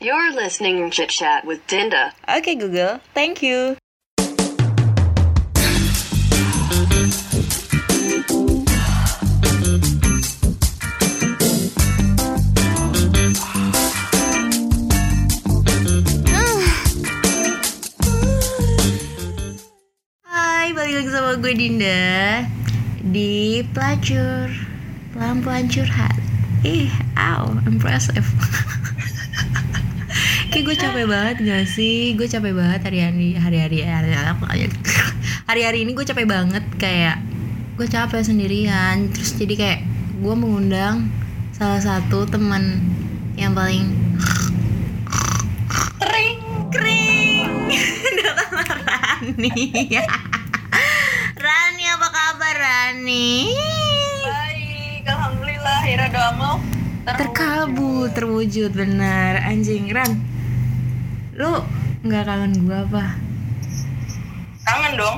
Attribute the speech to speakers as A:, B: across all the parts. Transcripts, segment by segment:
A: You're listening Chit Chat with Dinda.
B: Oke Google, thank you. Hai, balik lagi sama gue Dinda di pelacur pelan-pelan curhat. Ih, ow, impressive. Kayak gue capek banget gak sih? Gue capek banget hari-hari hari-hari hari-hari hari-hari ini gue capek banget kayak gue capek sendirian. Terus jadi kayak gue mengundang salah satu teman yang paling kering kering datang Rani Rani apa kabar Rani
C: Baik, alhamdulillah akhirnya doamu
B: terkabul terwujud benar anjing Ran lu nggak kangen gua apa
C: Kangen dong,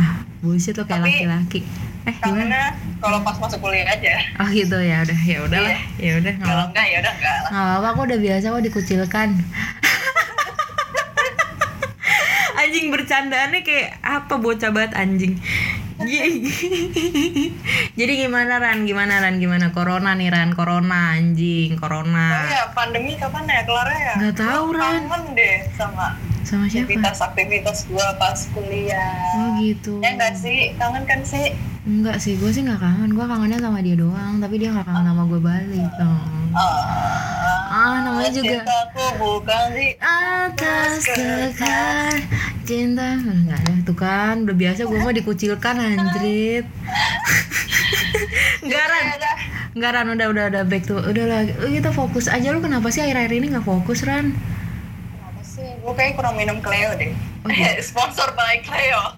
B: ah bullshit lo kayak
C: Tapi-
B: laki-laki eh gimana
C: kangennya kalau pas masuk kuliah aja.
B: oh gitu ya udah ya udah lah ya udah nggak
C: Iya. Kalau
B: apa-
C: enggak ya udah enggak lah.
B: nggak apa-apa aku udah biasa kok dikucilkan anjing bercandaannya kayak apa bocah banget anjing jadi gimana Ran gimana Ran gimana corona nih Ran corona anjing
C: Tapi
B: corona
C: ya pandemi kapan ya kelarnya ya?
B: Nggak tahu, Iya,
C: Gua
B: Ran.
C: Kangen deh sama
B: sama siapa
C: aktivitas-aktivitas gua pas
B: oh
C: kuliah.
B: gitu
C: Ya enggak sih, kangen kan sih?
B: enggak sih gue sih nggak kangen gue kangennya sama dia doang tapi dia nggak kangen sama gue balik oh.
C: Ah,
B: ah namanya juga Ah,
C: Cintaku bukan sih.
B: atas sekar cinta enggak ada tuh kan udah biasa gue mah dikucilkan anjrit enggak Ran
C: Ya udah,
B: enggak Ran udah udah udah back to udah lah eh, kita fokus aja lu kenapa sih akhir-akhir ini nggak fokus Ran
C: Kenapa sih? Gua kayak kurang minum Cleo deh.
B: Oh, iya.
C: Sponsor by Cleo.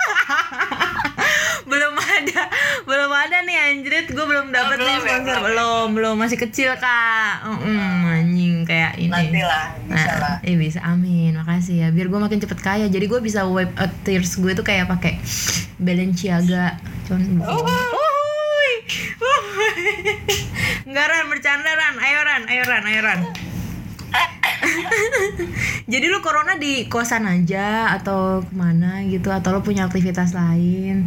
B: belum ada belum ada nih anjrit gue belum dapet
C: belum
B: nih
C: ya,
B: sponsor
C: belum ya.
B: belum belum masih kecil kak Mm-mm, anjing kayak ini
C: Nanti lah, bisa lah.
B: Nah, eh bisa amin makasih ya biar gue makin cepet kaya jadi gue bisa wipe out tears gue tuh kayak pakai Balenciaga cuman Wuhui. Wuhui. Nggak Ran, bercanda Ran, ayo Ran, ayo Ran, ayo Ran Jadi lu corona di kosan aja atau kemana gitu Atau lu punya aktivitas lain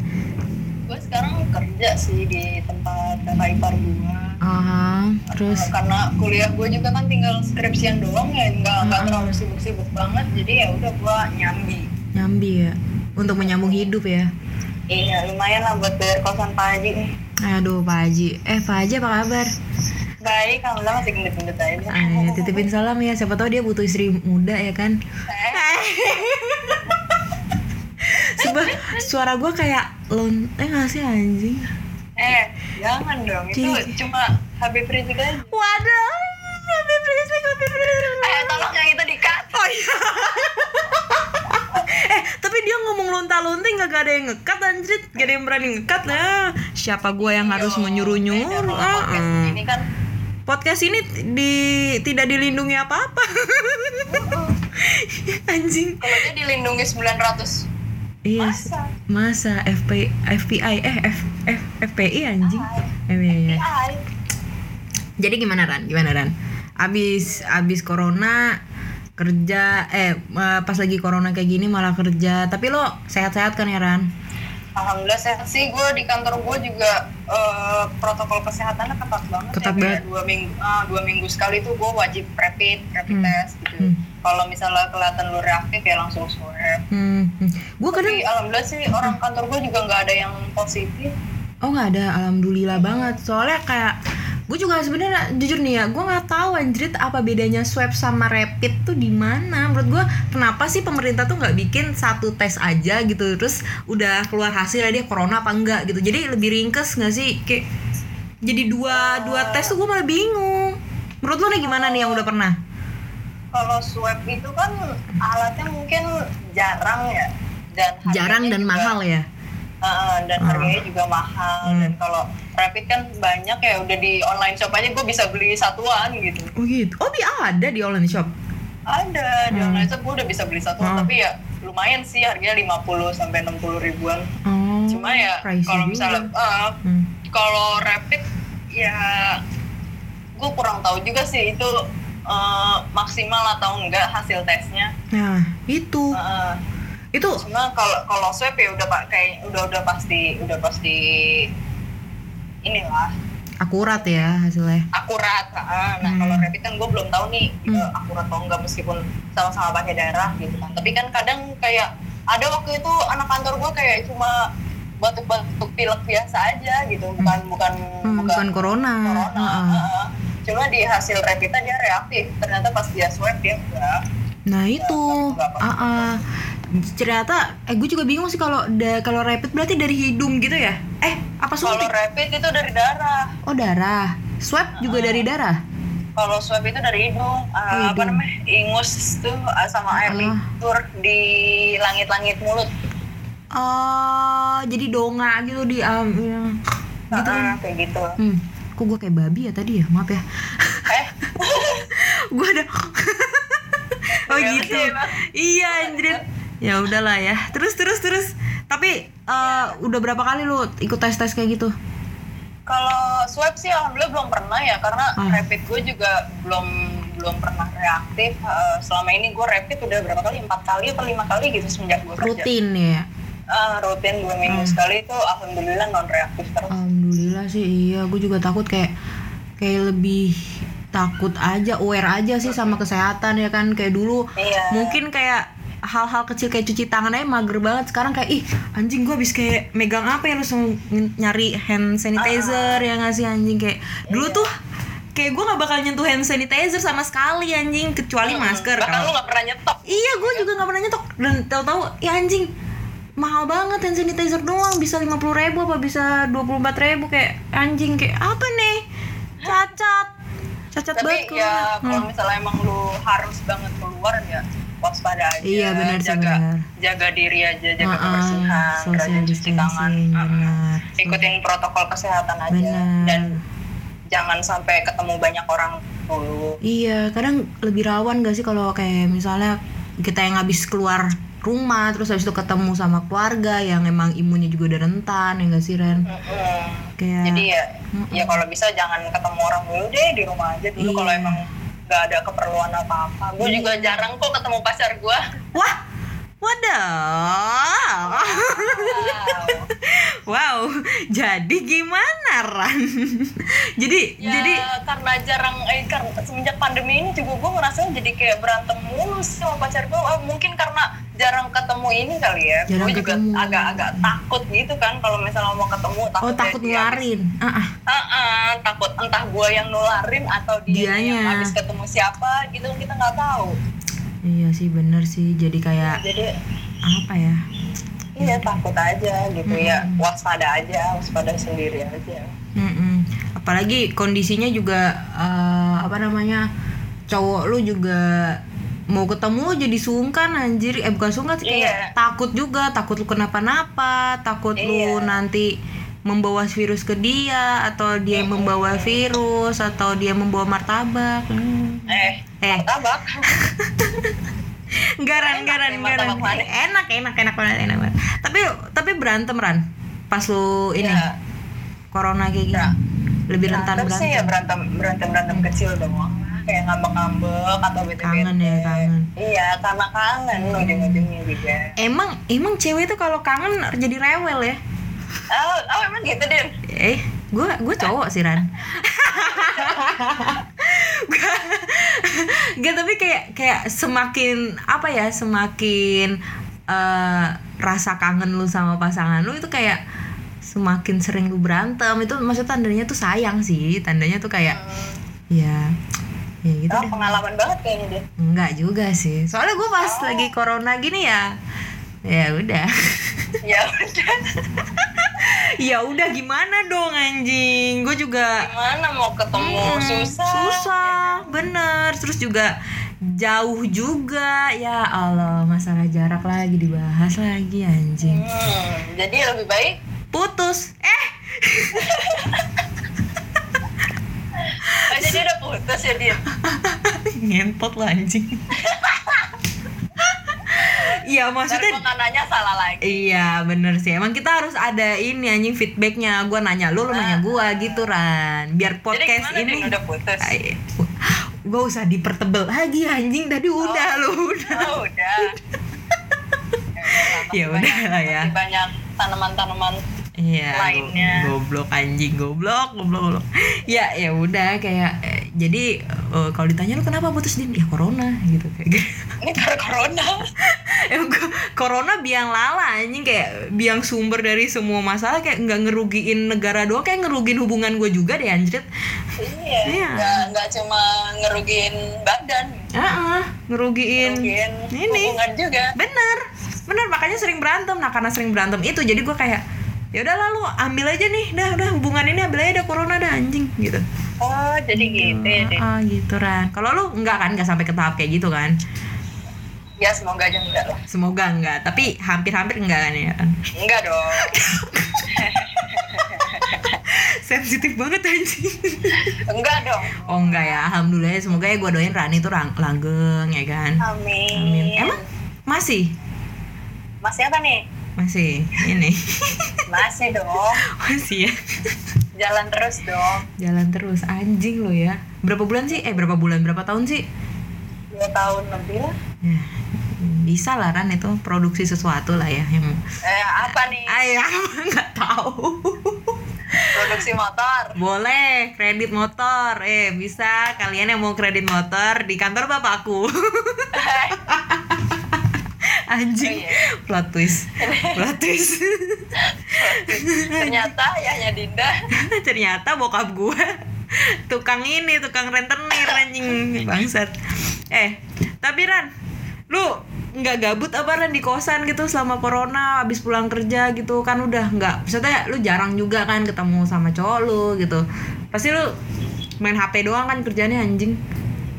C: Gue sekarang kerja sih di tempat kakak ipar gua.
B: Ah, terus
C: karena kuliah gue juga kan tinggal skripsian doang ya nggak nggak
B: Hmm.
C: terlalu sibuk-sibuk banget jadi ya udah gue nyambi
B: nyambi ya Untuk menyambung hidup ya
C: iya lumayan lah buat bayar kosan pagi nih
B: Aduh Pak Haji Eh Pak Haji apa kabar?
C: baik alhamdulillah masih gendut-gendut aja
B: Eh, titipin salam ya Siapa tahu dia butuh istri muda ya kan
C: Eh,
B: Sebab suara gue kayak lon Eh nggak sih anjing
C: eh jangan dong itu
B: Cing.
C: cuma Habib Rizik aja
B: Ah. Waduh Habib Rizik, Habib Rizik.
C: eh tolong yang itu di cut
B: Oh iya. eh, tapi dia ngomong lonta-lonta nggak ada yang ngekat anjrit, gak ada yang berani ngekat lah. Siapa gua yang harus
C: Yo, beda
B: menyuruh-nyuruh?
C: kalau
B: Ah,
C: podcast
B: ah.
C: ini kan
B: Podcast ini t- di tidak dilindungi apa-apa. Anjing.
C: kalau dia dilindungi 900
B: Iya. s-
C: masa
B: Masa FP FPI eh F, F, FPI anjing. Eh, iya, iya.
C: Hai.
B: Jadi gimana Ran? Gimana Ran? Abis abis corona kerja eh eh, pas lagi corona kayak gini malah kerja. Tapi lo sehat-sehat kan ya Ran?
C: Alhamdulillah sehat sih gue di kantor gue juga eh, protokol kesehatannya ketat banget.
B: Ketat
C: ya,
B: banget.
C: Kayak dua minggu ah, dua minggu sekali tuh gue wajib rapid rapid
B: Hmm.
C: test gitu.
B: Hmm.
C: Kalau misalnya kelihatan lu reaktif ya langsung swab.
B: Hmm, gue kadang
C: Tapi alhamdulillah sih orang kantor gue juga nggak ada yang positif.
B: oh nggak ada alhamdulillah banget soalnya kayak gue juga sebenarnya jujur nih ya gue nggak tahu anjrit apa bedanya swab sama rapid tuh di mana menurut gue kenapa sih pemerintah tuh nggak bikin satu tes aja gitu terus udah keluar hasilnya dia corona apa enggak gitu jadi lebih ringkes nggak sih kayak jadi dua dua tes tuh gue malah bingung menurut lo nih gimana nih yang udah pernah
C: Kalau swab itu kan alatnya mungkin jarang ya dan harganya
B: jarang dan
C: juga-
B: mahal ya
C: Heeh, dan
B: Ah.
C: harganya juga mahal
B: Hmm.
C: dan kalau rapid kan banyak ya udah di online shop aja gue bisa beli satuan gitu.
B: oh gitu oh bi ada di online shop
C: Ada, di
B: Hmm.
C: online shop gue udah bisa beli satu,
B: Hmm.
C: tapi ya lumayan sih harganya 50 sampai 60 ribuan.
B: oh
C: Cuma ya
B: pricey
C: kalau
B: juga.
C: misalnya eh,
B: Hmm.
C: kalau rapid ya gue kurang tahu juga sih itu eh, eh, maksimal atau enggak hasil tesnya.
B: Nah, itu.
C: Heeh.
B: Itu
C: Cuma kalau kalau swab ya udah pak kayak udah udah pasti udah pasti inilah
B: akurat ya hasilnya.
C: akurat. heeh. Nah
B: Hmm.
C: kalau rapid kan gue belum tahu nih gitu,
B: Hmm.
C: akurat atau enggak meskipun sama-sama pakai darah gitu kan. Tapi kan kadang kayak ada waktu itu anak kantor gue kayak cuma batuk-batuk pilek biasa aja gitu, bukan bukan
B: Hmm, bukan corona.
C: corona.
B: Heeh.
C: heeh. Cuma di hasil rapidnya dia reaktif. Ternyata pas dia swab dia enggak.
B: Nah itu,
C: nggak apa-apa.
B: ah ah. ternyata, eh gue juga bingung sih kalau da- kalau rapid berarti dari hidung gitu ya? Eh apa
C: Kalau
B: suntik?
C: rapid itu dari darah.
B: Oh darah, swab juga dari darah.
C: Kalau swab itu dari hidung,
B: Oh,
C: uh, apa
B: hidung.
C: namanya? Ingus tuh uh, sama air
B: Ah.
C: liur di langit-langit mulut.
B: Oh jadi donga gitu di, um, ya. gitu. kan.
C: Ah, kayak gitu.
B: Hmm, kok gue kayak babi ya tadi ya? Maaf ya,
C: Eh,
B: gue ada. oh
C: Iya,
B: gitu.
C: iya, Bang.
B: Iya Andrit. Ya udahlah ya. Terus terus terus. Tapi eh, udah berapa kali lu ikut tes tes kayak gitu?
C: kalau swab sih alhamdulillah belum pernah ya karena
B: Ah.
C: rapid gue juga belum belum pernah reaktif. Uh, selama ini gue rapid udah berapa kali? Empat kali atau lima kali gitu semenjak gue kerja.
B: Rutin Hmm. ya.
C: Ah, rutin dua minggu sekali itu alhamdulillah non reaktif terus.
B: Alhamdulillah sih iya, gue juga takut kayak kayak lebih takut aja, aware aja sih sama kesehatan ya kan kayak dulu
C: Iya.
B: mungkin kayak hal-hal kecil kayak cuci tangan aja mager banget sekarang kayak ih anjing gue habis kayak megang apa ya langsung ny- nyari hand sanitizer
C: Ah.
B: ya nggak sih anjing kayak dulu
C: Iya.
B: tuh kayak gue nggak bakal nyentuh hand sanitizer sama sekali anjing kecuali masker
C: Bahkan
B: Kalau-
C: lu nggak pernah nyetop.
B: Iya, gue juga nggak pernah nyetok dan tahu-tahu ya anjing mahal banget hand sanitizer doang bisa lima puluh ribu apa bisa dua puluh empat ribu kayak anjing kayak apa nih cacat cacat banget
C: Tapi
B: gua.
C: ya
B: Hmm.
C: kalau misalnya emang lu harus banget keluar ya waspada aja.
B: Iya, benar sih,
C: jaga
B: benar.
C: jaga diri aja, jaga
B: Ah, ah,
C: kebersihan,
B: social
C: rajin cuci
B: distancing,
C: tangan. ah, ah.
B: benar.
C: Ikutin protokol kesehatan aja
B: Iya. Benar.
C: dan jangan sampai ketemu banyak orang dulu.
B: Iya, kadang lebih rawan gak sih kalau kayak misalnya kita yang habis keluar rumah terus habis itu ketemu sama keluarga yang emang imunnya juga udah rentan ya gak sih Ren?
C: Mm-mm.
B: Kayak
C: Jadi ya
B: Mm-mm.
C: ya kalau bisa jangan ketemu orang dulu deh di rumah aja dulu
B: Iya.
C: kalau emang nggak ada keperluan apa-apa. Gue juga jarang kok ketemu pacar gue.
B: wah, wadah.
C: Wow.
B: Wow, jadi gimana Ran? jadi
C: ya,
B: jadi
C: karena jarang eh karena semenjak pandemi ini juga gue ngerasa jadi kayak berantem mulu sih sama pacar gue Oh, mungkin karena jarang ketemu ini kali ya
B: Jarang
C: gue juga
B: ketemu.
C: agak-agak takut gitu kan kalau misalnya mau ketemu takut
B: oh takut ngelarin. Ah, ah.
C: takut entah gue yang nularin atau dia
B: Dianya.
C: yang habis ketemu siapa gitu kita nggak tahu
B: Iya sih bener sih. Jadi kayak
C: jadi
B: apa ya?
C: iya takut aja gitu ya
B: Hmm.
C: waspada aja waspada sendiri aja
B: Mm-mm. Apalagi kondisinya juga eh, apa namanya cowok lu juga mau ketemu jadi sungkan anjir eh bukan sungkan sih kayak
C: Iya.
B: takut juga takut lu kenapa-napa takut lu
C: Iya.
B: nanti membawa virus ke dia atau dia
C: Iya.
B: yang membawa virus atau dia membawa martabak Hmm.
C: eh
B: eh
C: tabak
B: Garan, garan, garan.
C: nih martabak manis.
B: Enak, enak, enak banget, enak banget. Tapi, tapi berantem ran. Pas lu ini
C: Iya.
B: corona kayak gini,
C: Iya.
B: lebih rentan
C: Berantem
B: berantem.
C: sih ya berantem berantem berantem kecil doang kayak ngambek-ngambek atau bete
B: Kangen ya, Hmm. kangen.
C: iya karena kangen ujung-ujungnya juga
B: Emang, emang cewek itu kalau kangen jadi rewel ya?
C: oh, oh emang gitu Din
B: Eh, gue gue cowok sih Ran. Gua- Gak tapi kayak kayak semakin apa ya semakin eh, rasa kangen lu sama pasangan lu itu kayak semakin sering lu berantem itu maksud tandanya tuh sayang sih tandanya tuh kayak ya ya gitu
C: oh,
B: deh
C: pengalaman banget kayaknya Din
B: enggak juga sih soalnya gue pas lagi corona gini ya ya udah
C: ya udah
B: ya udah gimana dong anjing gue juga
C: gimana mau ketemu
B: Mm-mm,
C: Iya, susah
B: Iya, kan? Hmm, susah, bener terus juga jauh juga ya Allah masalah jarak lagi dibahas lagi anjing
C: Hmm, jadi lebih baik
B: putus eh
C: oh, jadi udah putus ya Din
B: ngentot lah anjing Iya
C: ntar
B: maksudnya
C: gua nggak nanya salah lagi
B: Iya bener sih Emang kita harus ada ini anjing feedbacknya
C: Ah.
B: Gua nanya lu, lu nanya gua gitu Ran Biar podcast
C: jadi gimana
B: ini
C: Din udah putus
B: Ay, gak usah dipertebel lagi anjing tadi udah lo udah
C: Oh, udah.
B: Ya udah lah ya.
C: Masih banyak tanaman-tanaman.
B: Iya,
C: Lainnya.
B: go- goblok anjing, goblok, goblok, goblok. Ya, ya udah kayak eh, jadi eh, kalau ditanya lu kenapa putus din? Ya corona gitu kayak. gitu.
C: Ini karena corona.
B: Emang ko- corona biang lala anjing kayak biang sumber dari semua masalah kayak nggak ngerugiin negara doang kayak ngerugiin hubungan gue juga deh anjrit.
C: iya.
B: Iya.
C: Nggak, nggak cuma ngerugiin badan.
B: Heeh, ngerugiin.
C: Ngerugiin
B: Ini.
C: hubungan juga.
B: Bener, bener makanya sering berantem. Nah karena sering berantem itu jadi gue kayak ya udah lalu ambil aja nih, dah udah hubungan ini ambil aja dah corona dah anjing gitu.
C: Oh, jadi gitu ya. Din.
B: Ah, gitu Ran. Kalau lu enggak kan enggak sampai ke tahap kayak gitu kan?
C: Ya, semoga aja enggak lah.
B: Semoga enggak, tapi hampir-hampir enggak kan ya. Ran?
C: Enggak dong.
B: Sensitif banget anjing.
C: Enggak dong.
B: Oh enggak ya, alhamdulillah ya. semoga ya gue doain Rani tuh rang- langgeng ya kan.
C: Amin.
B: Amin. Emang masih
C: Masih apa nih?
B: masih ini
C: Masih dong.
B: masih ya
C: Jalan terus dong.
B: jalan terus anjing lo ya. Berapa bulan sih? Eh berapa bulan berapa tahun sih?
C: Dua tahun lebih lah.
B: Ya, bisa lah Ran itu produksi sesuatu lah ya yang
C: Eh, apa nih?
B: ayah nggak tahu.
C: Produksi motor.
B: Boleh, kredit motor. Eh, bisa kalian yang mau kredit motor di kantor bapakku. Anjing.
C: Oh, iya.
B: Plot twist. Plot twist.
C: Ternyata ayahnya Dinda.
B: Ternyata bokap gue tukang ini, tukang rentenir anjing bangsat. Eh, tapi Ran, lu nggak gabut apa Ran di kosan gitu selama corona abis pulang kerja gitu kan udah nggak maksudnya lu jarang juga kan ketemu sama cowok lu gitu pasti lu main HP doang kan kerjanya anjing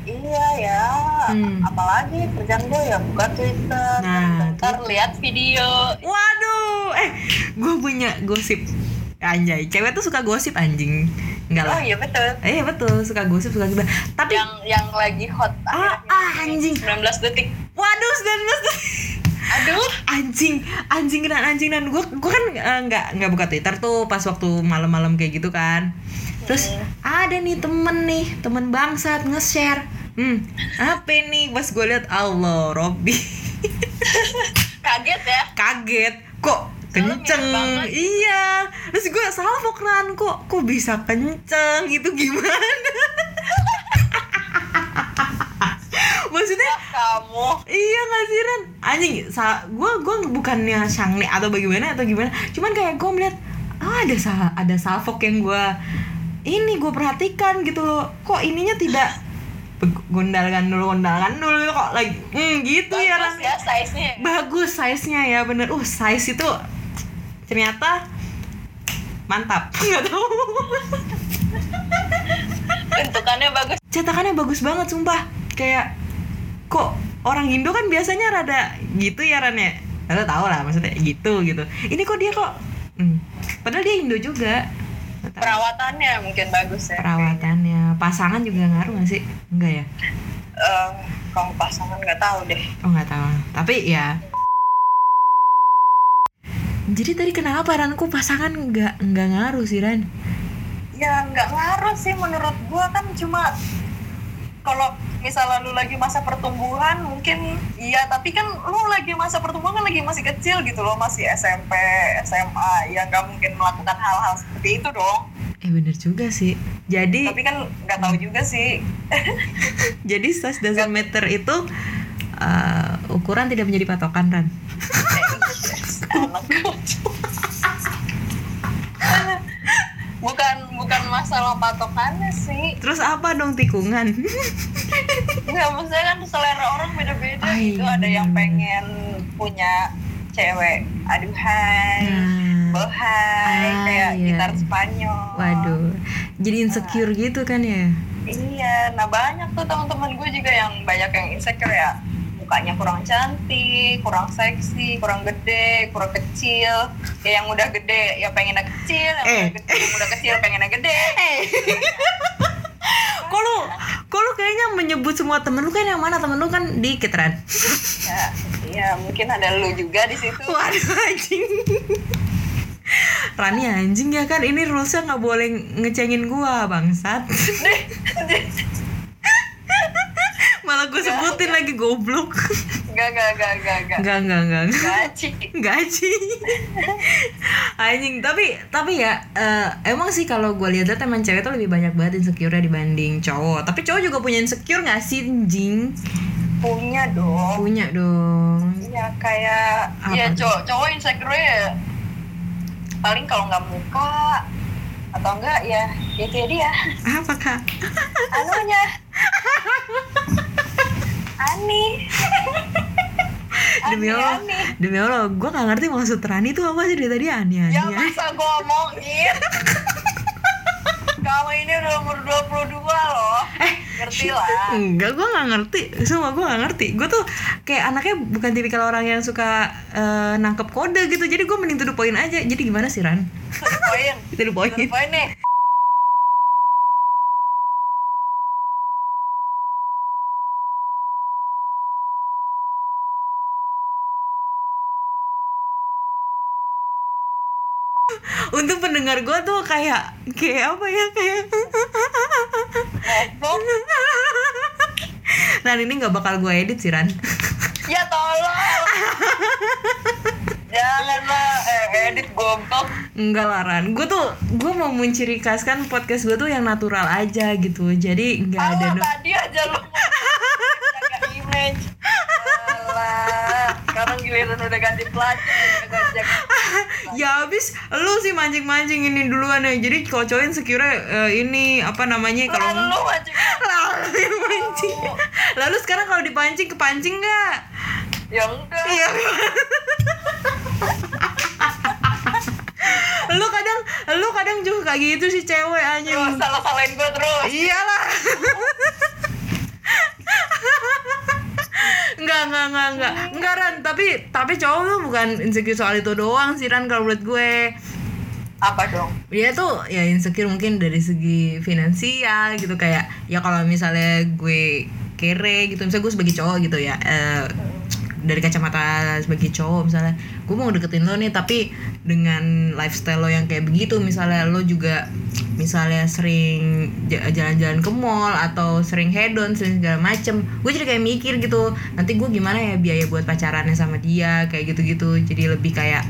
C: Iya ya.
B: Hmm.
C: Apalagi kerjaan gue ya buka Twitter.
B: Nah,
C: Bentar lihat video.
B: Waduh, eh, gue punya gosip. Anjay, cewek tuh suka gosip anjing. Enggak lah.
C: Oh iya betul.
B: Eh betul, suka gosip, suka gibah. Tapi,
C: Yang yang lagi hot
B: Ah,
C: akhir-akhir
B: ah,
C: ini.
B: anjing.
C: 19 detik.
B: waduh, dan
C: Aduh.
B: anjing, anjing dan anjing dan gue, gue kan eh, nggak nggak buka Twitter tuh pas waktu malam-malam kayak gitu kan. Terus
C: Iya.
B: ada nih temen nih, temen bangsat nge-share. Hmm, apa nih? Pas gue liat Allah, Robby
C: Kaget ya.
B: kaget kok
C: Soalnya
B: kenceng
C: Oh, mirip banget.
B: iya terus gue salvo kan kok kok bisa kenceng itu gimana maksudnya
C: Ya, Kamu.
B: iya nggak sih Ren anjing sa gue gue bukannya sangni atau bagaimana atau gimana cuman kayak gue melihat ah ada sa ada salvok yang gue ini gue perhatikan gitu loh kok ininya tidak gondal gandul gondal gandul kok lagi hmm, gitu ya Ren
C: Bagus ya size-nya.
B: bagus size-nya ya bener uh size itu ternyata mantap nggak tahu
C: Bentukannya bagus.
B: cetakannya bagus banget sumpah kayak kok orang Indo kan biasanya rada gitu ya Ran ya Rada tau lah maksudnya gitu gitu ini kok dia kok hmm, padahal dia Indo juga Nggak tahu.
C: Perawatannya mungkin bagus ya.
B: perawatannya pasangan juga ngaruh nggak sih enggak ya
C: Eh, kalau pasangan nggak tahu deh.
B: oh nggak tahu tapi ya jadi tadi kenapa Ran kok pasangan nggak nggak ngaruh sih Ran
C: ya nggak ngaruh sih menurut gua kan cuma kalau misalnya lu lagi masa pertumbuhan mungkin iya tapi kan lu lagi masa pertumbuhan kan lagi masih kecil gitu loh masih SMP SMA ya nggak mungkin melakukan hal-hal seperti itu dong
B: Eh bener juga sih. Jadi
C: tapi kan nggak tahu juga sih
B: jadi size doesn't matter itu eh, ukuran tidak menjadi patokan Ran.
C: bukan bukan masalah patokannya sih
B: Terus apa dong tikungan?
C: nggak maksudnya kan selera orang beda-beda
B: Ah,
C: gitu
B: iya,
C: ada yang
B: bener-bener.
C: pengen punya cewek aduhai
B: Nah.
C: bohai
B: Ah,
C: kayak
B: iya.
C: gitar Spanyol
B: Waduh. Jadi insecure gitu kan ya.
C: iya nah banyak tuh teman-teman gue juga yang banyak yang insecure ya mukanya kurang cantik kurang seksi kurang gede kurang kecil ya yang udah gede ya pengennya kecil yang
B: Eh.
C: udah gede yang udah kecil pengennya gede
B: Kok lu kok lu kayaknya menyebut semua temen lu kan yang mana temen lu kan dikit Ran.
C: ya, iya, mungkin ada lu juga di situ
B: Waduh anjing. Rani anjing ya kan ini rulesnya nggak boleh ngecengin gua bangsat. gue sebutin lagi goblok.
C: Enggak, enggak, enggak, enggak, enggak.
B: Enggak, enggak, enggak. enggak.
C: Gaci.
B: gaji anjing tapi tapi ya eh, emang sih kalau gue lihat lihat emang cewek tuh lebih banyak banget insecure dibanding cowok tapi cowok juga punya insecure nggak sih anjing
C: Punya dong.
B: punya dong
C: Iya, kayak
B: Apa?
C: ya cowok, cowok insecure ya paling kalau nggak muka atau enggak ya ya kayak dia
B: apa kak
C: anunya Ani
B: demi allah demi allah gue nggak ngerti maksud Rani tuh apa sih dari tadi aneh
C: Ya
B: aneh
C: masa ngomongin Kamu ini udah umur 22 loh Ngerti lah
B: Enggak, gue gak ngerti Semua gue gak ngerti Gue tuh kayak anaknya bukan tipikal orang yang suka eh, nangkep kode gitu Jadi gue mending to the point aja Jadi gimana sih Ran?
C: To the point
B: To the
C: To the
B: point
C: point nih
B: untuk pendengar gue tuh kayak kayak apa ya kayak
C: Ngomong
B: Ran ini nggak bakal gue edit sih Ran
C: Ya tolong Jangan lah eh, Edit goblok
B: Enggak lah Ran Gue tuh gue mau mencirikaskan podcast gue tuh yang natural aja gitu Jadi nggak ada
C: Allah
B: no-
C: tadi aja lu ngomong, jaga image Alah Sekarang giliran udah ganti pelatih udah ganti
B: Ya abis lu sih mancing-mancing ini duluan ya Jadi kalau cowok insecure eh, ini apa namanya
C: Kalau
B: kalau
C: lu aja
B: Lalu yang mancing Lalu sekarang kalau dipancing kepancing nggak?
C: Ya enggak
B: Iya. lu kadang lu kadang juga kayak gitu sih cewek
C: Terus
B: anjing.
C: salah-salahin gue terus
B: Iyalah. Enggak, enggak, enggak, enggak. Enggak, Ran. Tapi, tapi cowok tuh bukan insecure soal itu doang sih, Ran, kalau menurut gue.
C: Apa dong?
B: Dia tuh ya insecure mungkin dari segi finansial gitu. Kayak, ya kalau misalnya gue kere gitu. Misalnya gue sebagai cowok gitu ya. eh, dari kacamata sebagai cowok misalnya gue mau deketin lo nih tapi dengan lifestyle lo yang kayak begitu misalnya lo juga misalnya sering ja- jalan-jalan ke mall atau sering hedon sering segala macem gue jadi kayak mikir gitu nanti gue gimana ya biaya buat pacarannya sama dia kayak gitu-gitu jadi lebih kayak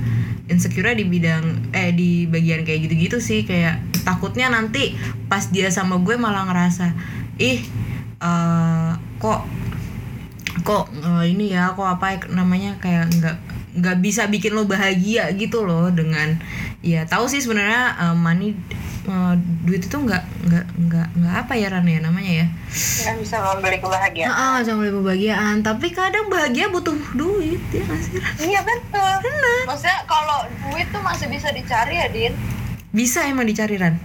B: insecure di bidang eh di bagian kayak gitu-gitu sih kayak takutnya nanti pas dia sama gue malah ngerasa ih eh, kok kok eh, ini ya kok apa ya, namanya kayak nggak nggak bisa bikin lo bahagia gitu loh dengan ya tahu sih sebenarnya eh, money eh, duit itu nggak nggak nggak nggak apa ya Ran ya namanya ya
C: Nggak bisa membeli kebahagiaan
B: ah ah, jangan beli kebahagiaan tapi kadang bahagia butuh duit ya nggak sih Ran?
C: Iya betul Maksudnya kalau duit tuh masih bisa dicari ya Din
B: bisa emang dicari Ran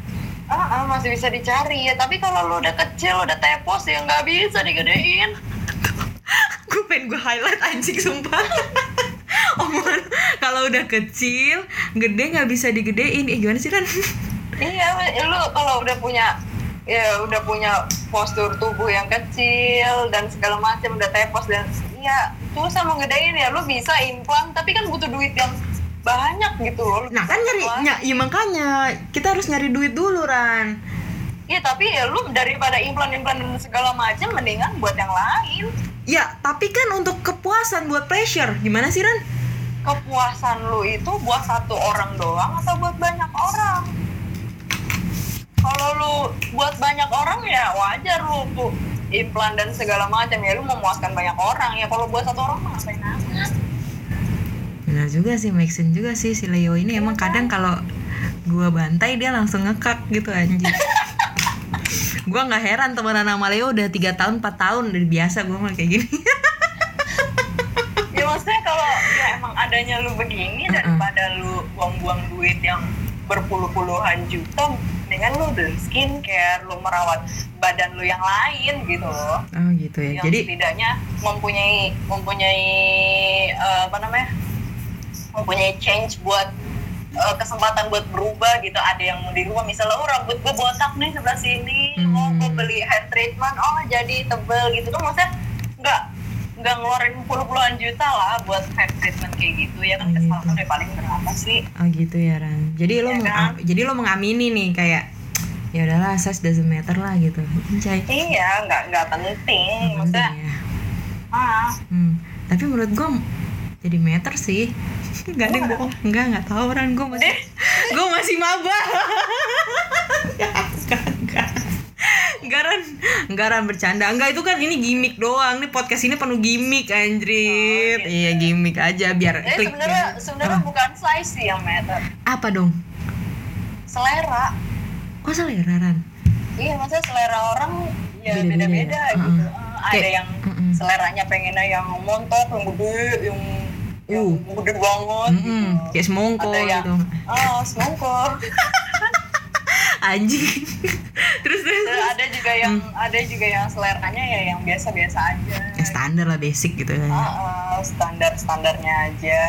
C: Ah, ah, masih bisa dicari ya tapi kalau lu udah kecil udah tepos ya nggak bisa digedein
B: gue pengen gue highlight anjing sumpah omongan kalau udah kecil gede nggak bisa digedein eh gimana sih Ran
C: iya lu kalau udah punya ya udah punya postur tubuh yang kecil dan segala macam udah tepos dan iya susah mau gedein ya lu bisa implan tapi kan butuh duit yang banyak gitu loh Lu
B: nah kan
C: bisa
B: nyari
C: keluar.
B: ya, ya makanya kita harus nyari duit dulu Ran
C: Iya tapi ya lu daripada implan-implan dan segala macam mendingan buat yang lain
B: Ya, tapi kan untuk kepuasan buat pressure. Gimana sih, Ran?
C: kepuasan lu itu buat satu orang doang atau buat banyak orang kalau lu buat banyak orang ya wajar lu tuh implan dan segala macam ya lu memuaskan banyak orang ya kalau buat satu orang mah ngapain amat
B: Benar juga sih, make sense juga sih si Leo ini emang kadang kalau gua bantai dia langsung ngekak gitu anjing. gua nggak heran temenan sama Leo udah 3 tahun 4 tahun dari biasa gua mah kayak gini.
C: ya maksudnya kalau ya emang adanya lu begini daripada lu buang-buang duit yang berpuluh-puluhan juta dengan lu beli skincare lu merawat badan lu yang lain gitu loh
B: Oh gitu ya.
C: yang
B: Jadi
C: setidaknya mempunyai mempunyai eh, apa namanya mempunyai change buat eh, kesempatan buat berubah gitu ada yang mau dirubah misalnya oh rambut gue botak nih sebelah sini
B: Hmm.
C: oh gue beli hair treatment oh jadi tebel gitu kan maksudnya nggak nggak ngeluarin puluh-puluhan juta lah buat hair treatment kayak gitu ya kan
B: Iya,
C: kesalahan
B: iya.
C: udah paling berapa sih
B: oh gitu ya, Ran. Jadi lo
C: Iya,
B: meng-
C: kan?
B: jadi lo mengamini nih kayak ya udahlah, size doesn't matter lah gitu. Anjay.
C: iya nggak nggak penting Iya, maksudnya
B: Penting ya.
C: ah
B: Hmm, tapi menurut gue jadi meter sih. Gak deh bohong, enggak enggak tahu kan gue masih
C: Eh.
B: gue masih maba. Enggak, enggak. Enggak, Ran. Enggak, Ran, bercanda. Enggak, itu kan ini gimmick doang. Nih podcast ini penuh gimmick, anjrit.
C: Oh, gitu.
B: Iya, gimmick aja biar
C: jadi
B: klik.
C: sebenarnya
B: Ah.
C: sebenarnya bukan size sih yang matter
B: Apa dong?
C: selera
B: Oh, selera, Ran.
C: iya maksudnya selera orang ya
B: Beda-beda ya?
C: beda-beda
B: Heeh.
C: gitu Eh, ada
B: Kayak-
C: yang
B: Mm-mm.
C: seleranya pengennya yang montok yang gede yang yang
B: Uh.
C: gede banget
B: Mm-mm,
C: gitu
B: Kayak semongko
C: Ada yang-
B: gitu.
C: oh semongko
B: Anjing. terus terus.
C: Terus
B: terus.
C: ada juga yang
B: Mm.
C: ada juga yang seleranya ya yang biasa-biasa aja
B: Ya, standar lah basic gitu kan.
C: standar standarnya aja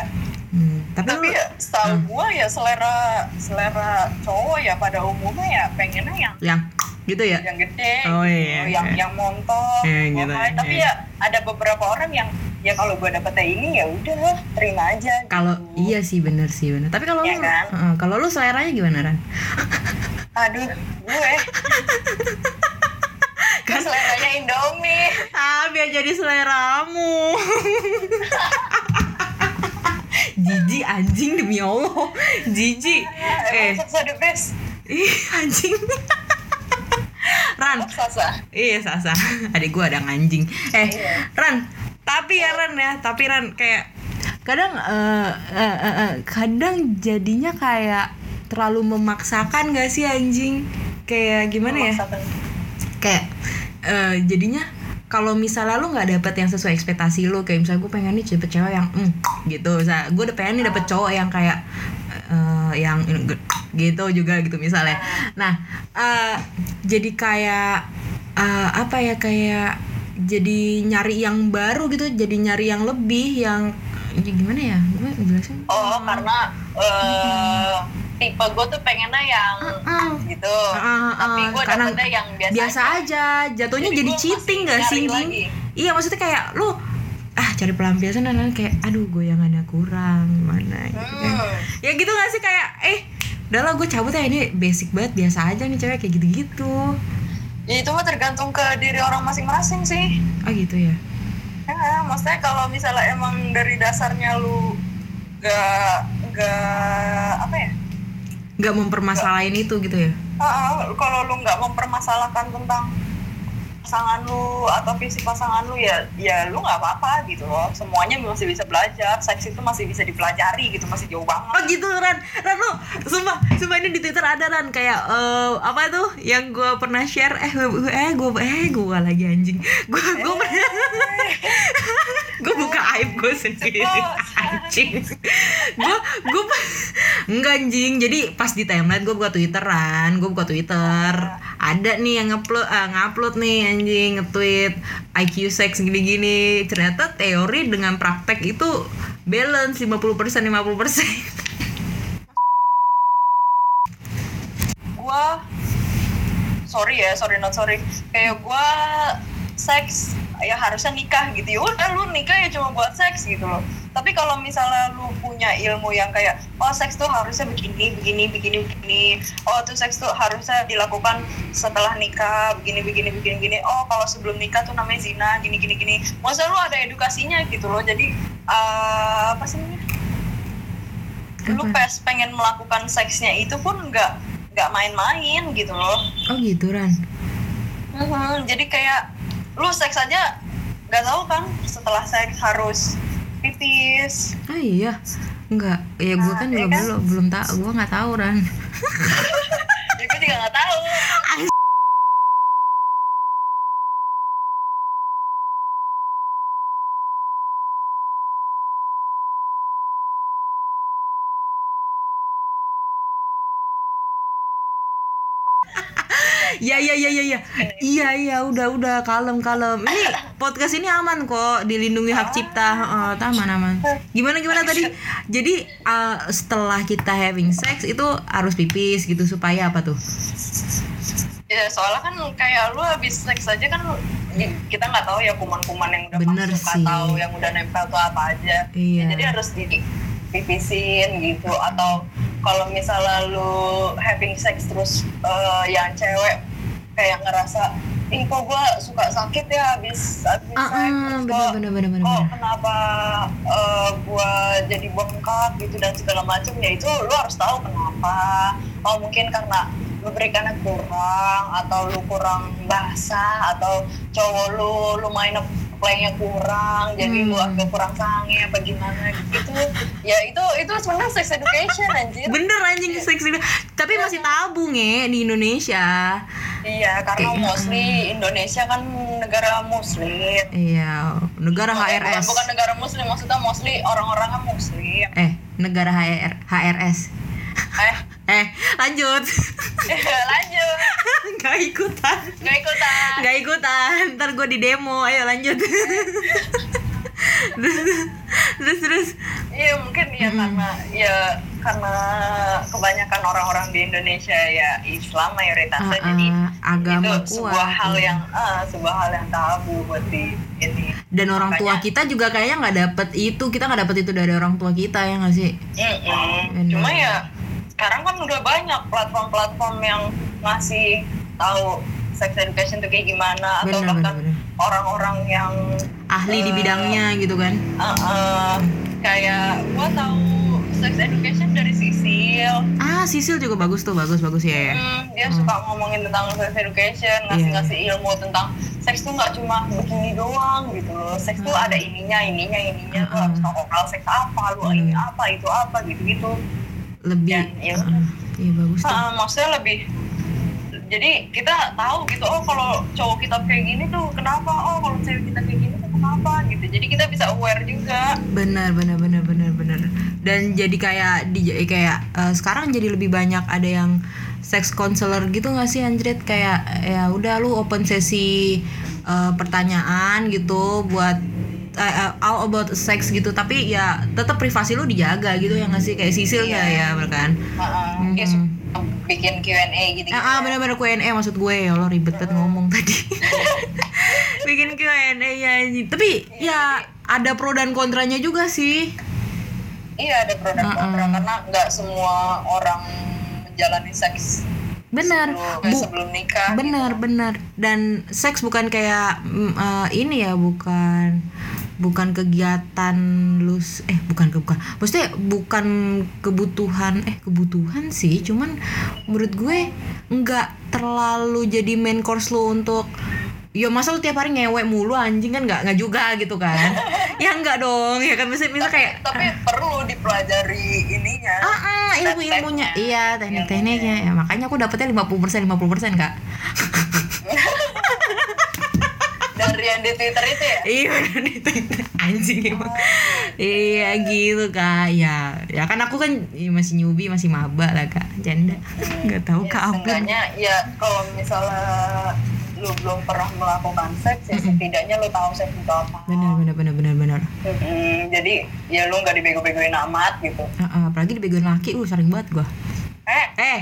B: Hmm, tapi,
C: tapi
B: lu-
C: ya, setahu
B: Mm.
C: gua ya selera selera cowok ya pada umumnya ya pengennya yang
B: yang gitu ya
C: yang gede
B: Oh,
C: gitu,
B: iya,
C: yang
B: iya.
C: yang montok
B: Iya,
C: yang
B: gitu,
C: mahal. tapi
B: iya.
C: ya ada beberapa orang yang ya kalau gua dapetnya ini ya udah terima aja
B: kalau
C: gitu.
B: iya sih bener sih bener tapi kalau
C: Iya
B: lu
C: kan?
B: Heeh, kalau lu seleranya gimana Ran
C: aduh gue kan seleranya Indomie
B: ah biar jadi seleramu Jiji anjing demi Allah Jiji Eh
C: eh. emang Sasa the best
B: ih, anjing Ran
C: Sasa
B: Iya Sasa Adik gue ada anjing Eh
C: Iya.
B: Ran Tapi ya Ran ya Tapi Ran kayak Kadang eh, eh, eh, eh, Kadang jadinya kayak Terlalu memaksakan gak sih anjing Kayak gimana ya
C: Sasa.
B: Kayak eh, Jadinya kalau misalnya lu nggak dapet yang sesuai ekspektasi lu kayak misalnya gue pengen nih dapet cewek yang mm, gitu misalnya gue udah pengen nih dapet cowok yang kayak eh, yang gitu juga gitu misalnya nah eh, jadi kayak eh, apa ya kayak jadi nyari yang baru gitu jadi nyari yang lebih yang ya gimana ya gue jelasin
C: Oh, karena eh, tipe gue tuh pengennya yang
B: Ah,
C: gitu.
B: ah,
C: Tapi
B: ah,
C: gue
B: karena
C: dapetnya yang biasa.
B: biasa aja jatuhnya
C: Jadi
B: jadi,
C: gua
B: cheating
C: masih
B: gak sih
C: nyari
B: Jing?
C: lagi.
B: iya maksudnya kayak lu ah cari pelampiasan dan lain kayak aduh goyangannya kurang mana gitu kan.
C: Hmm.
B: ya gitu gak sih kayak eh udahlah gue cabut ya ini basic banget biasa aja nih cewek kayak gitu-gitu
C: Ya, itu mah tergantung ke diri orang masing-masing sih.
B: oh gitu ya
C: Ya, maksudnya kalau misalnya emang dari dasarnya lu gak gak apa ya?
B: nggak mempermasalahin itu gitu ya
C: Ah, ah, kalau lu nggak mempermasalahkan tentang pasangan lu atau fisik pasangan lu ya ya lu nggak apa-apa gitu loh semuanya masih bisa belajar seks itu masih bisa dipelajari gitu masih jauh banget
B: Oh gitu Ran, Ran lu sumpah, sumpah ini di Twitter ada Ran kayak eh, apa tuh yang gue pernah share eh gue- eh gue eh gue lagi anjing gue gue pernah gue buka aib gue sendiri
C: Ceplos.
B: anjing gue gue enggak anjing jadi pas di timeline gue buka twitteran gue buka twitter ada nih yang ngupload ah, ngupload nih anjing nge-tweet IQ sex gini-gini ternyata teori dengan praktek itu balance 50% 50%
C: gua sorry ya sorry not sorry kayak gua seks ya harusnya nikah gitu ya udah lu nikah ya cuma buat seks gitu loh tapi kalau misalnya lu punya ilmu yang kayak oh seks tuh harusnya begini begini begini begini oh tuh seks tuh harusnya dilakukan setelah nikah begini begini begini begini oh kalau sebelum nikah tuh namanya zina gini gini gini masa lu ada edukasinya gitu loh jadi eh, apa sih namanya lu
B: Apa?
C: pers pengen melakukan seksnya itu pun nggak nggak main-main gitu loh
B: oh gitu Ran
C: Mhm,
B: Mm-hmm.
C: jadi kayak lu seks aja nggak tahu kan setelah seks harus pipis
B: Ah iya, enggak. Ya gue kan
C: Ah,
B: juga
C: iya kan?
B: belum belum tahu, gue nggak tahu Ran.
C: ya gue juga nggak tahu
B: Iya iya iya iya. iya. Iya iya, udah udah kalem kalem. Ini podcast ini aman kok, dilindungi hak cipta. Heeh, tah, aman aman. Gimana gimana tadi? Jadi eh, setelah kita having sex itu harus pipis gitu supaya apa tuh?
C: ya soalnya kan kayak lu habis seks aja kan di- kita nggak tahu ya kuman-kuman yang udah
B: Bener
C: masuk
B: sih.
C: atau yang udah nempel tuh apa aja
B: Iya.
C: Ya, jadi harus di pipisin gitu atau kalau misalnya lu having sex terus eh, yang cewek kayak ngerasa info gue suka sakit ya habis habis
B: Ah, ah,
C: seks, terus
B: bener,
C: kok-
B: bener, bener, bener,
C: kok
B: bener.
C: kenapa gue jadi bengkak gitu dan segala macam ya itu lu harus tahu kenapa oh mungkin karena lu berikannya kurang atau lu kurang basah atau cowok lu lu main playnya kurang jadi lu
B: Hmm.
C: agak kurang sange apa gimana gitu ya itu itu sebenarnya sex education anjir
B: Bener anjing
C: Iya.
B: seks itu. Tapi masih tabu nge di Indonesia.
C: Iya, karena
B: Oke.
C: mostly Indonesia kan negara muslim.
B: Iya, negara
C: Bukan-
B: HRS.
C: Bukan, bukan negara muslim, maksudnya mostly orang-orangnya muslim.
B: Eh, negara HR HRS.
C: Eh,
B: Eh, lanjut.
C: lanjut.
B: Gak ikutan.
C: Gak ikutan.
B: Gak ikutan. Ntar gue di demo. Ayo lanjut. terus, terus, terus.
C: Iya, mungkin ya
B: Hmm.
C: karena ya karena kebanyakan orang-orang di Indonesia ya Islam
B: Ah,
C: mayoritasnya
B: ah,
C: jadi
B: agama
C: itu sebuah
B: kuat,
C: hal
B: iya.
C: yang ah, sebuah hal yang tabu buat di ini.
B: Dan orang tua
C: Makanya-
B: kita juga kayaknya nggak dapet itu. Kita nggak dapet itu dari orang tua kita ya nggak sih?
C: Mm-mm.
B: Bener.
C: Cuma ya sekarang kan udah banyak platform-platform yang ngasih tahu sex education tuh kayak gimana atau
B: Bener,
C: bahkan
B: bener, bener.
C: orang-orang yang
B: Ahli di
C: Eh,
B: bidangnya gitu kan?
C: uh, uh, kayak gua tahu sex education dari Sisil.
B: Ah, Sisil juga bagus tuh. Bagus, bagus ya. ya.
C: Hmm, dia suka ngomongin tentang sex education, ngasih-ngasih
B: Iya,
C: ilmu tentang seks tuh nggak cuma begini doang gitu loh. Seks
B: Hmm.
C: tuh ada ininya, ininya, ininya. Lu
B: Mm-mm.
C: harus tahu kalau seks apa, lu ini
B: Hmm.
C: apa, itu apa gitu-gitu.
B: Lebih.
C: Dan ya
B: Ah, Iya, bagus tuh.
C: Ah, maksudnya lebih jadi kita tahu gitu oh kalau cowok kita kayak gini tuh kenapa oh kalau cewek kita kayak gini tuh kenapa gitu jadi kita bisa aware juga
B: benar benar benar benar benar dan jadi kayak di kayak eh, sekarang jadi lebih banyak ada yang sex counselor gitu nggak sih Anjrit kayak ya udah lu open sesi eh, pertanyaan gitu buat eh, eh, all about sex gitu tapi ya tetap privasi lu dijaga gitu ya nggak sih kayak sisil ya ya kan
C: Ah, ah, dia
B: Mm-mm.
C: suka bikin Q&A gitu,
B: Hmm. Ah, ah bener-bener Q&A maksud gue ya lo ribet banget ngomong tadi bikin Q&A ya anjing. tapi ya ada pro dan kontranya juga sih
C: iya ada produk
B: Ah,
C: kontra karena nggak semua orang menjalani seks
B: benar
C: sebelum,
B: Bu-
C: Iya, sebelum nikah
B: benar benar dan seks bukan kayak mm, eh, ini ya bukan bukan kegiatan lu s- eh bukan ke- bukan maksudnya bukan kebutuhan eh kebutuhan sih cuman menurut gue nggak terlalu jadi main course lu untuk Ya masa lu tiap hari ngewe mulu anjing kan nggak nggak juga gitu kan? ya nggak dong ya kan misalnya, misalnya kayak
C: tapi perlu dipelajari ininya
B: Ah, ah, ilmu-ilmunya.
C: Teknik-tekniknya.
B: Iya, teknik-tekniknya. Ya, makanya aku dapetnya 50%, 50%, Kak. ah.
C: dari yang di Twitter itu ya
B: Iya, bener nih, teknik. anjing emang. Iya, gitu, Kak. Ya, ya kan aku kan masih newbie, masih maba lah, Kak. Janda. nggak tahu
C: Ya,
B: Kak apa.
C: Seenggaknya ya kalau misalnya lu belum pernah melakukan seks ya setidaknya lu tahu seks itu apa.
B: Benar, benar, benar, benar, benar.
C: Mm-mm, jadi ya lu nggak dibego-begoin amat gitu.
B: Ah, ah, apalagi dibegoin laki, uh sering banget gua.
C: Eh,
B: Eh,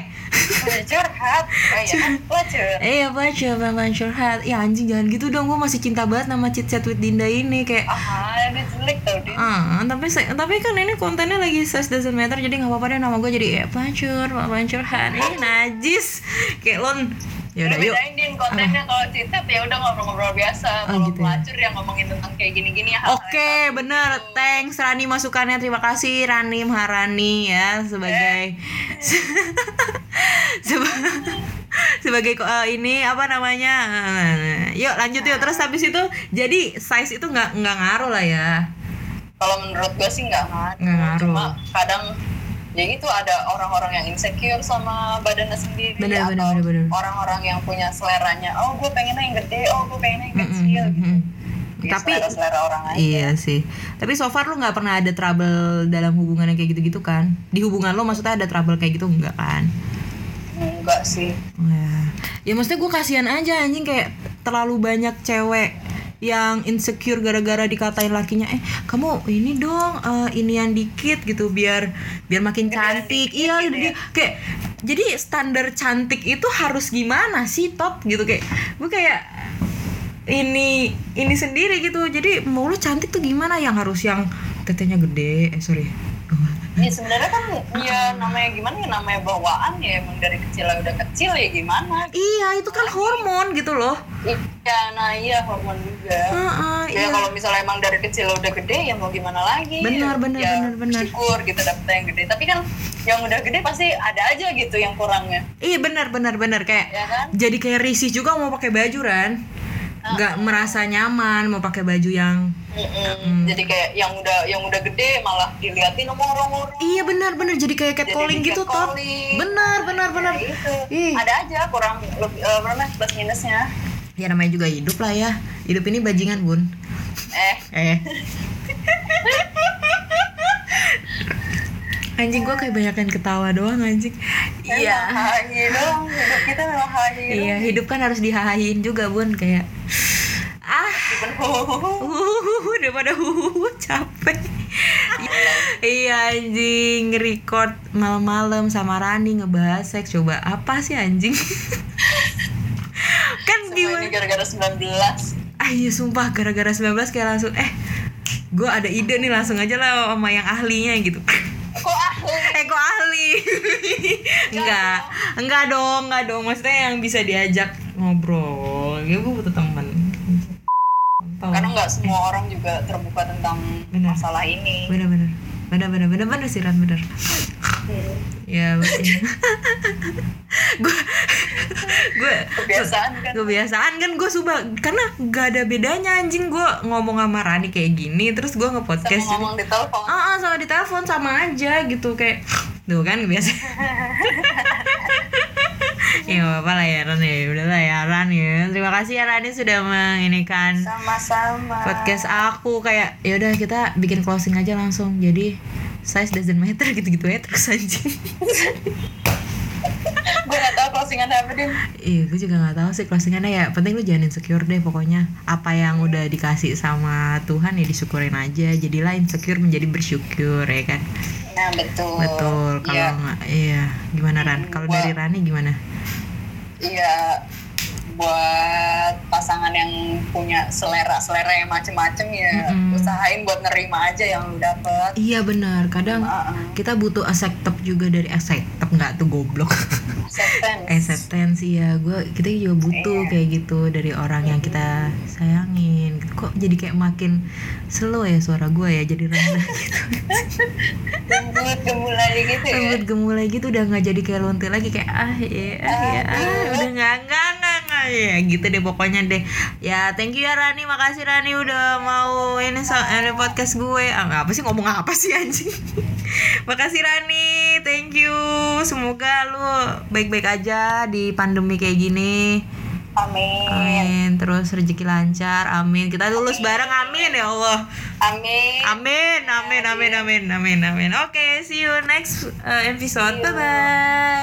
C: lu curhat. Eh, ya kan lu curhat.
B: eh apa coba man curhat? Ya anjing jangan gitu dong, gua masih cinta banget sama chit chat with Dinda ini kayak
C: Ah, ini jelek tau dia.
B: Ah, tapi se- tapi kan ini kontennya lagi sex doesn't matter jadi nggak apa-apa deh nama gue jadi eh, pancur, pancur hari najis kayak lon. Ya
C: Lu
B: udah yuk. Ah.
C: bedain din kontennya kalau citet ya udah ngobrol-ngobrol biasa. Kalau
B: gitu ya.
C: pelacur yang ngomongin tentang kayak gini-gini ya. hal-hal yang
B: Oke, bener. Thanks Rani masukannya. Terima kasih Rani Maharani ya sebagai seba- sebagai ko- eh, ini apa namanya? Eh, Yuk lanjut yuk. Terus habis itu jadi size itu nggak nggak ngaruh lah ya.
C: kalau menurut gue sih nggak ngaruh.
B: Nggak ngaruh.
C: Cuma kadang ya itu ada orang-orang yang insecure sama badannya sendiri
B: Bener, bener,
C: atau
B: bener, bener.
C: orang-orang yang punya seleranya, oh gue pengennya yang gede, oh gue pengennya yang kecil
B: Mm-mm,
C: gitu.
B: mm-mm. Hmm.
C: Ya,
B: Tapi
C: selera-selera orang aja.
B: Iya sih. Tapi so far lu nggak pernah ada trouble dalam hubungan yang kayak gitu-gitu kan? Di hubungan lo maksudnya ada trouble kayak gitu enggak kan?
C: Enggak sih.
B: Ya, ya maksudnya gue kasihan aja anjing kayak terlalu banyak cewek yang insecure gara-gara dikatain lakinya eh kamu ini dong eh, inian dikit gitu biar biar makin
C: Gedean
B: cantik
C: dikit
B: iya
C: gitu
B: dia- kayak jadi standar cantik itu harus gimana sih top gitu kayak gue kayak ini ini sendiri gitu jadi mau lu cantik tuh gimana yang harus yang tetenya gede eh sorry
C: ya sebenarnya kan ya namanya gimana ya namanya bawaan ya emang dari kecil lah udah kecil ya gimana
B: Iya, itu kan hormon gitu loh.
C: iya nah iya hormon juga
B: Heeh, iya.
C: ya kalau misalnya emang dari kecil udah gede ya mau gimana lagi
B: Benar, benar,
C: ya,
B: benar, benar.
C: syukur gitu dapet yang gede tapi kan yang udah gede pasti ada aja gitu yang kurangnya
B: Iya benar benar benar kayak
C: ya kan
B: jadi kayak risih juga mau pakai baju Ran. Nggak
C: Ah.
B: merasa nyaman mau pakai baju yang Hmm.
C: Mm-mm. jadi kayak yang udah yang udah gede malah diliatin sama orang-orang
B: Iya benar benar jadi kayak
C: Jadi
B: catcalling
C: di
B: gitu tot.
C: catcalling.
B: Benar benar benar.
C: Ya, itu.
B: Ih.
C: ada aja kurang lebih eh, apa namanya, plus minusnya
B: Ya namanya juga hidup lah ya. Hidup ini bajingan, Bun.
C: eh
B: Eh. anjing gua kayak banyakan ketawa doang anjing.
C: memang
B: Iya.
C: hahi dong hidup kita memang hahi
B: Iya,
C: dong
B: hidup kan harus dihahain juga, Bun, kayak ah
C: Even ho-ho-ho.
B: Uhuhu, daripada uhuhu, capek. iya anjing, record malam-malam sama Rani ngebahas seks. Coba apa sih anjing? kan
C: Semua
B: gimana?
C: ini gara-gara 19
B: Ah iya sumpah gara-gara 19 kayak langsung eh gue ada ide nih langsung aja lah sama yang ahlinya gitu.
C: kok ahli
B: Eh kok ahli? enggak, enggak dong, enggak dong. Maksudnya yang bisa diajak ngobrol. Ya gue butuh temen. Tau.
C: karena nggak semua orang juga terbuka tentang
B: Benar.
C: masalah ini
B: bener bener bener bener bener bener sih Ran bener ya gue gue
C: kebiasaan kan
B: kebiasaan kan gue suka karena gak ada bedanya anjing gue ngomong sama Rani kayak gini terus gue
C: sama
B: ngepodcast juga
C: ngomong di telepon
B: ah ah, sama di telepon sama aja gitu kayak tuh kan kebiasaan ya gak apa-apa lah ya Ran ya udah lah ya Ran ya terima kasih ya Rani sudah menginikan
C: sama-sama
B: podcast aku kayak yaudah kita bikin closing aja langsung jadi size doesn't matter gitu-gitu ya terus anjing
C: gue gak tau closingan apa din
B: iya gue juga nggak tahu sih closingannya ya penting lu jangan insecure deh pokoknya apa yang udah dikasih sama Tuhan ya disyukurin aja jadilah insecure menjadi bersyukur ya kan
C: nah betul
B: betul kalau
C: Iya.
B: nggak iya gimana Ran kalau
C: Gua-
B: dari Rani gimana
C: Iya buat pasangan yang punya selera-selera yang macem-macem ya
B: Mm-mm.
C: usahain buat nerima aja yang lu dapet
B: iya benar kadang
C: Heeh.
B: kita butuh acceptance juga dari acceptance nggak tuh goblok
C: acceptance
B: Eh, acceptance ya gue kita juga butuh
C: Iya.
B: kayak gitu dari orang yang kita sayangin kok jadi kayak makin slow ya suara gue ya jadi rendah gitu
C: lembut gemulai gitu ya
B: lembut gemulai gitu udah nggak jadi kayak lonte lagi kayak ah ya ah ya ah, udah nggak nggak nggak nggak ya gitu deh pokoknya deh ya thank you ya Rani makasih Rani udah mau ini so- ini podcast gue ah, apa sih ngomong apa sih anjing makasih Rani thank you semoga lu baik-baik aja di pandemi kayak gini
C: amin
B: Amin. Terus rezeki lancar. Amin. Kita lulus bareng. Amin ya Allah.
C: amin
B: Amin. Amin. Amin. Amin. Amin. Amin. Oke, see you next uh, eh, episode. Bye bye.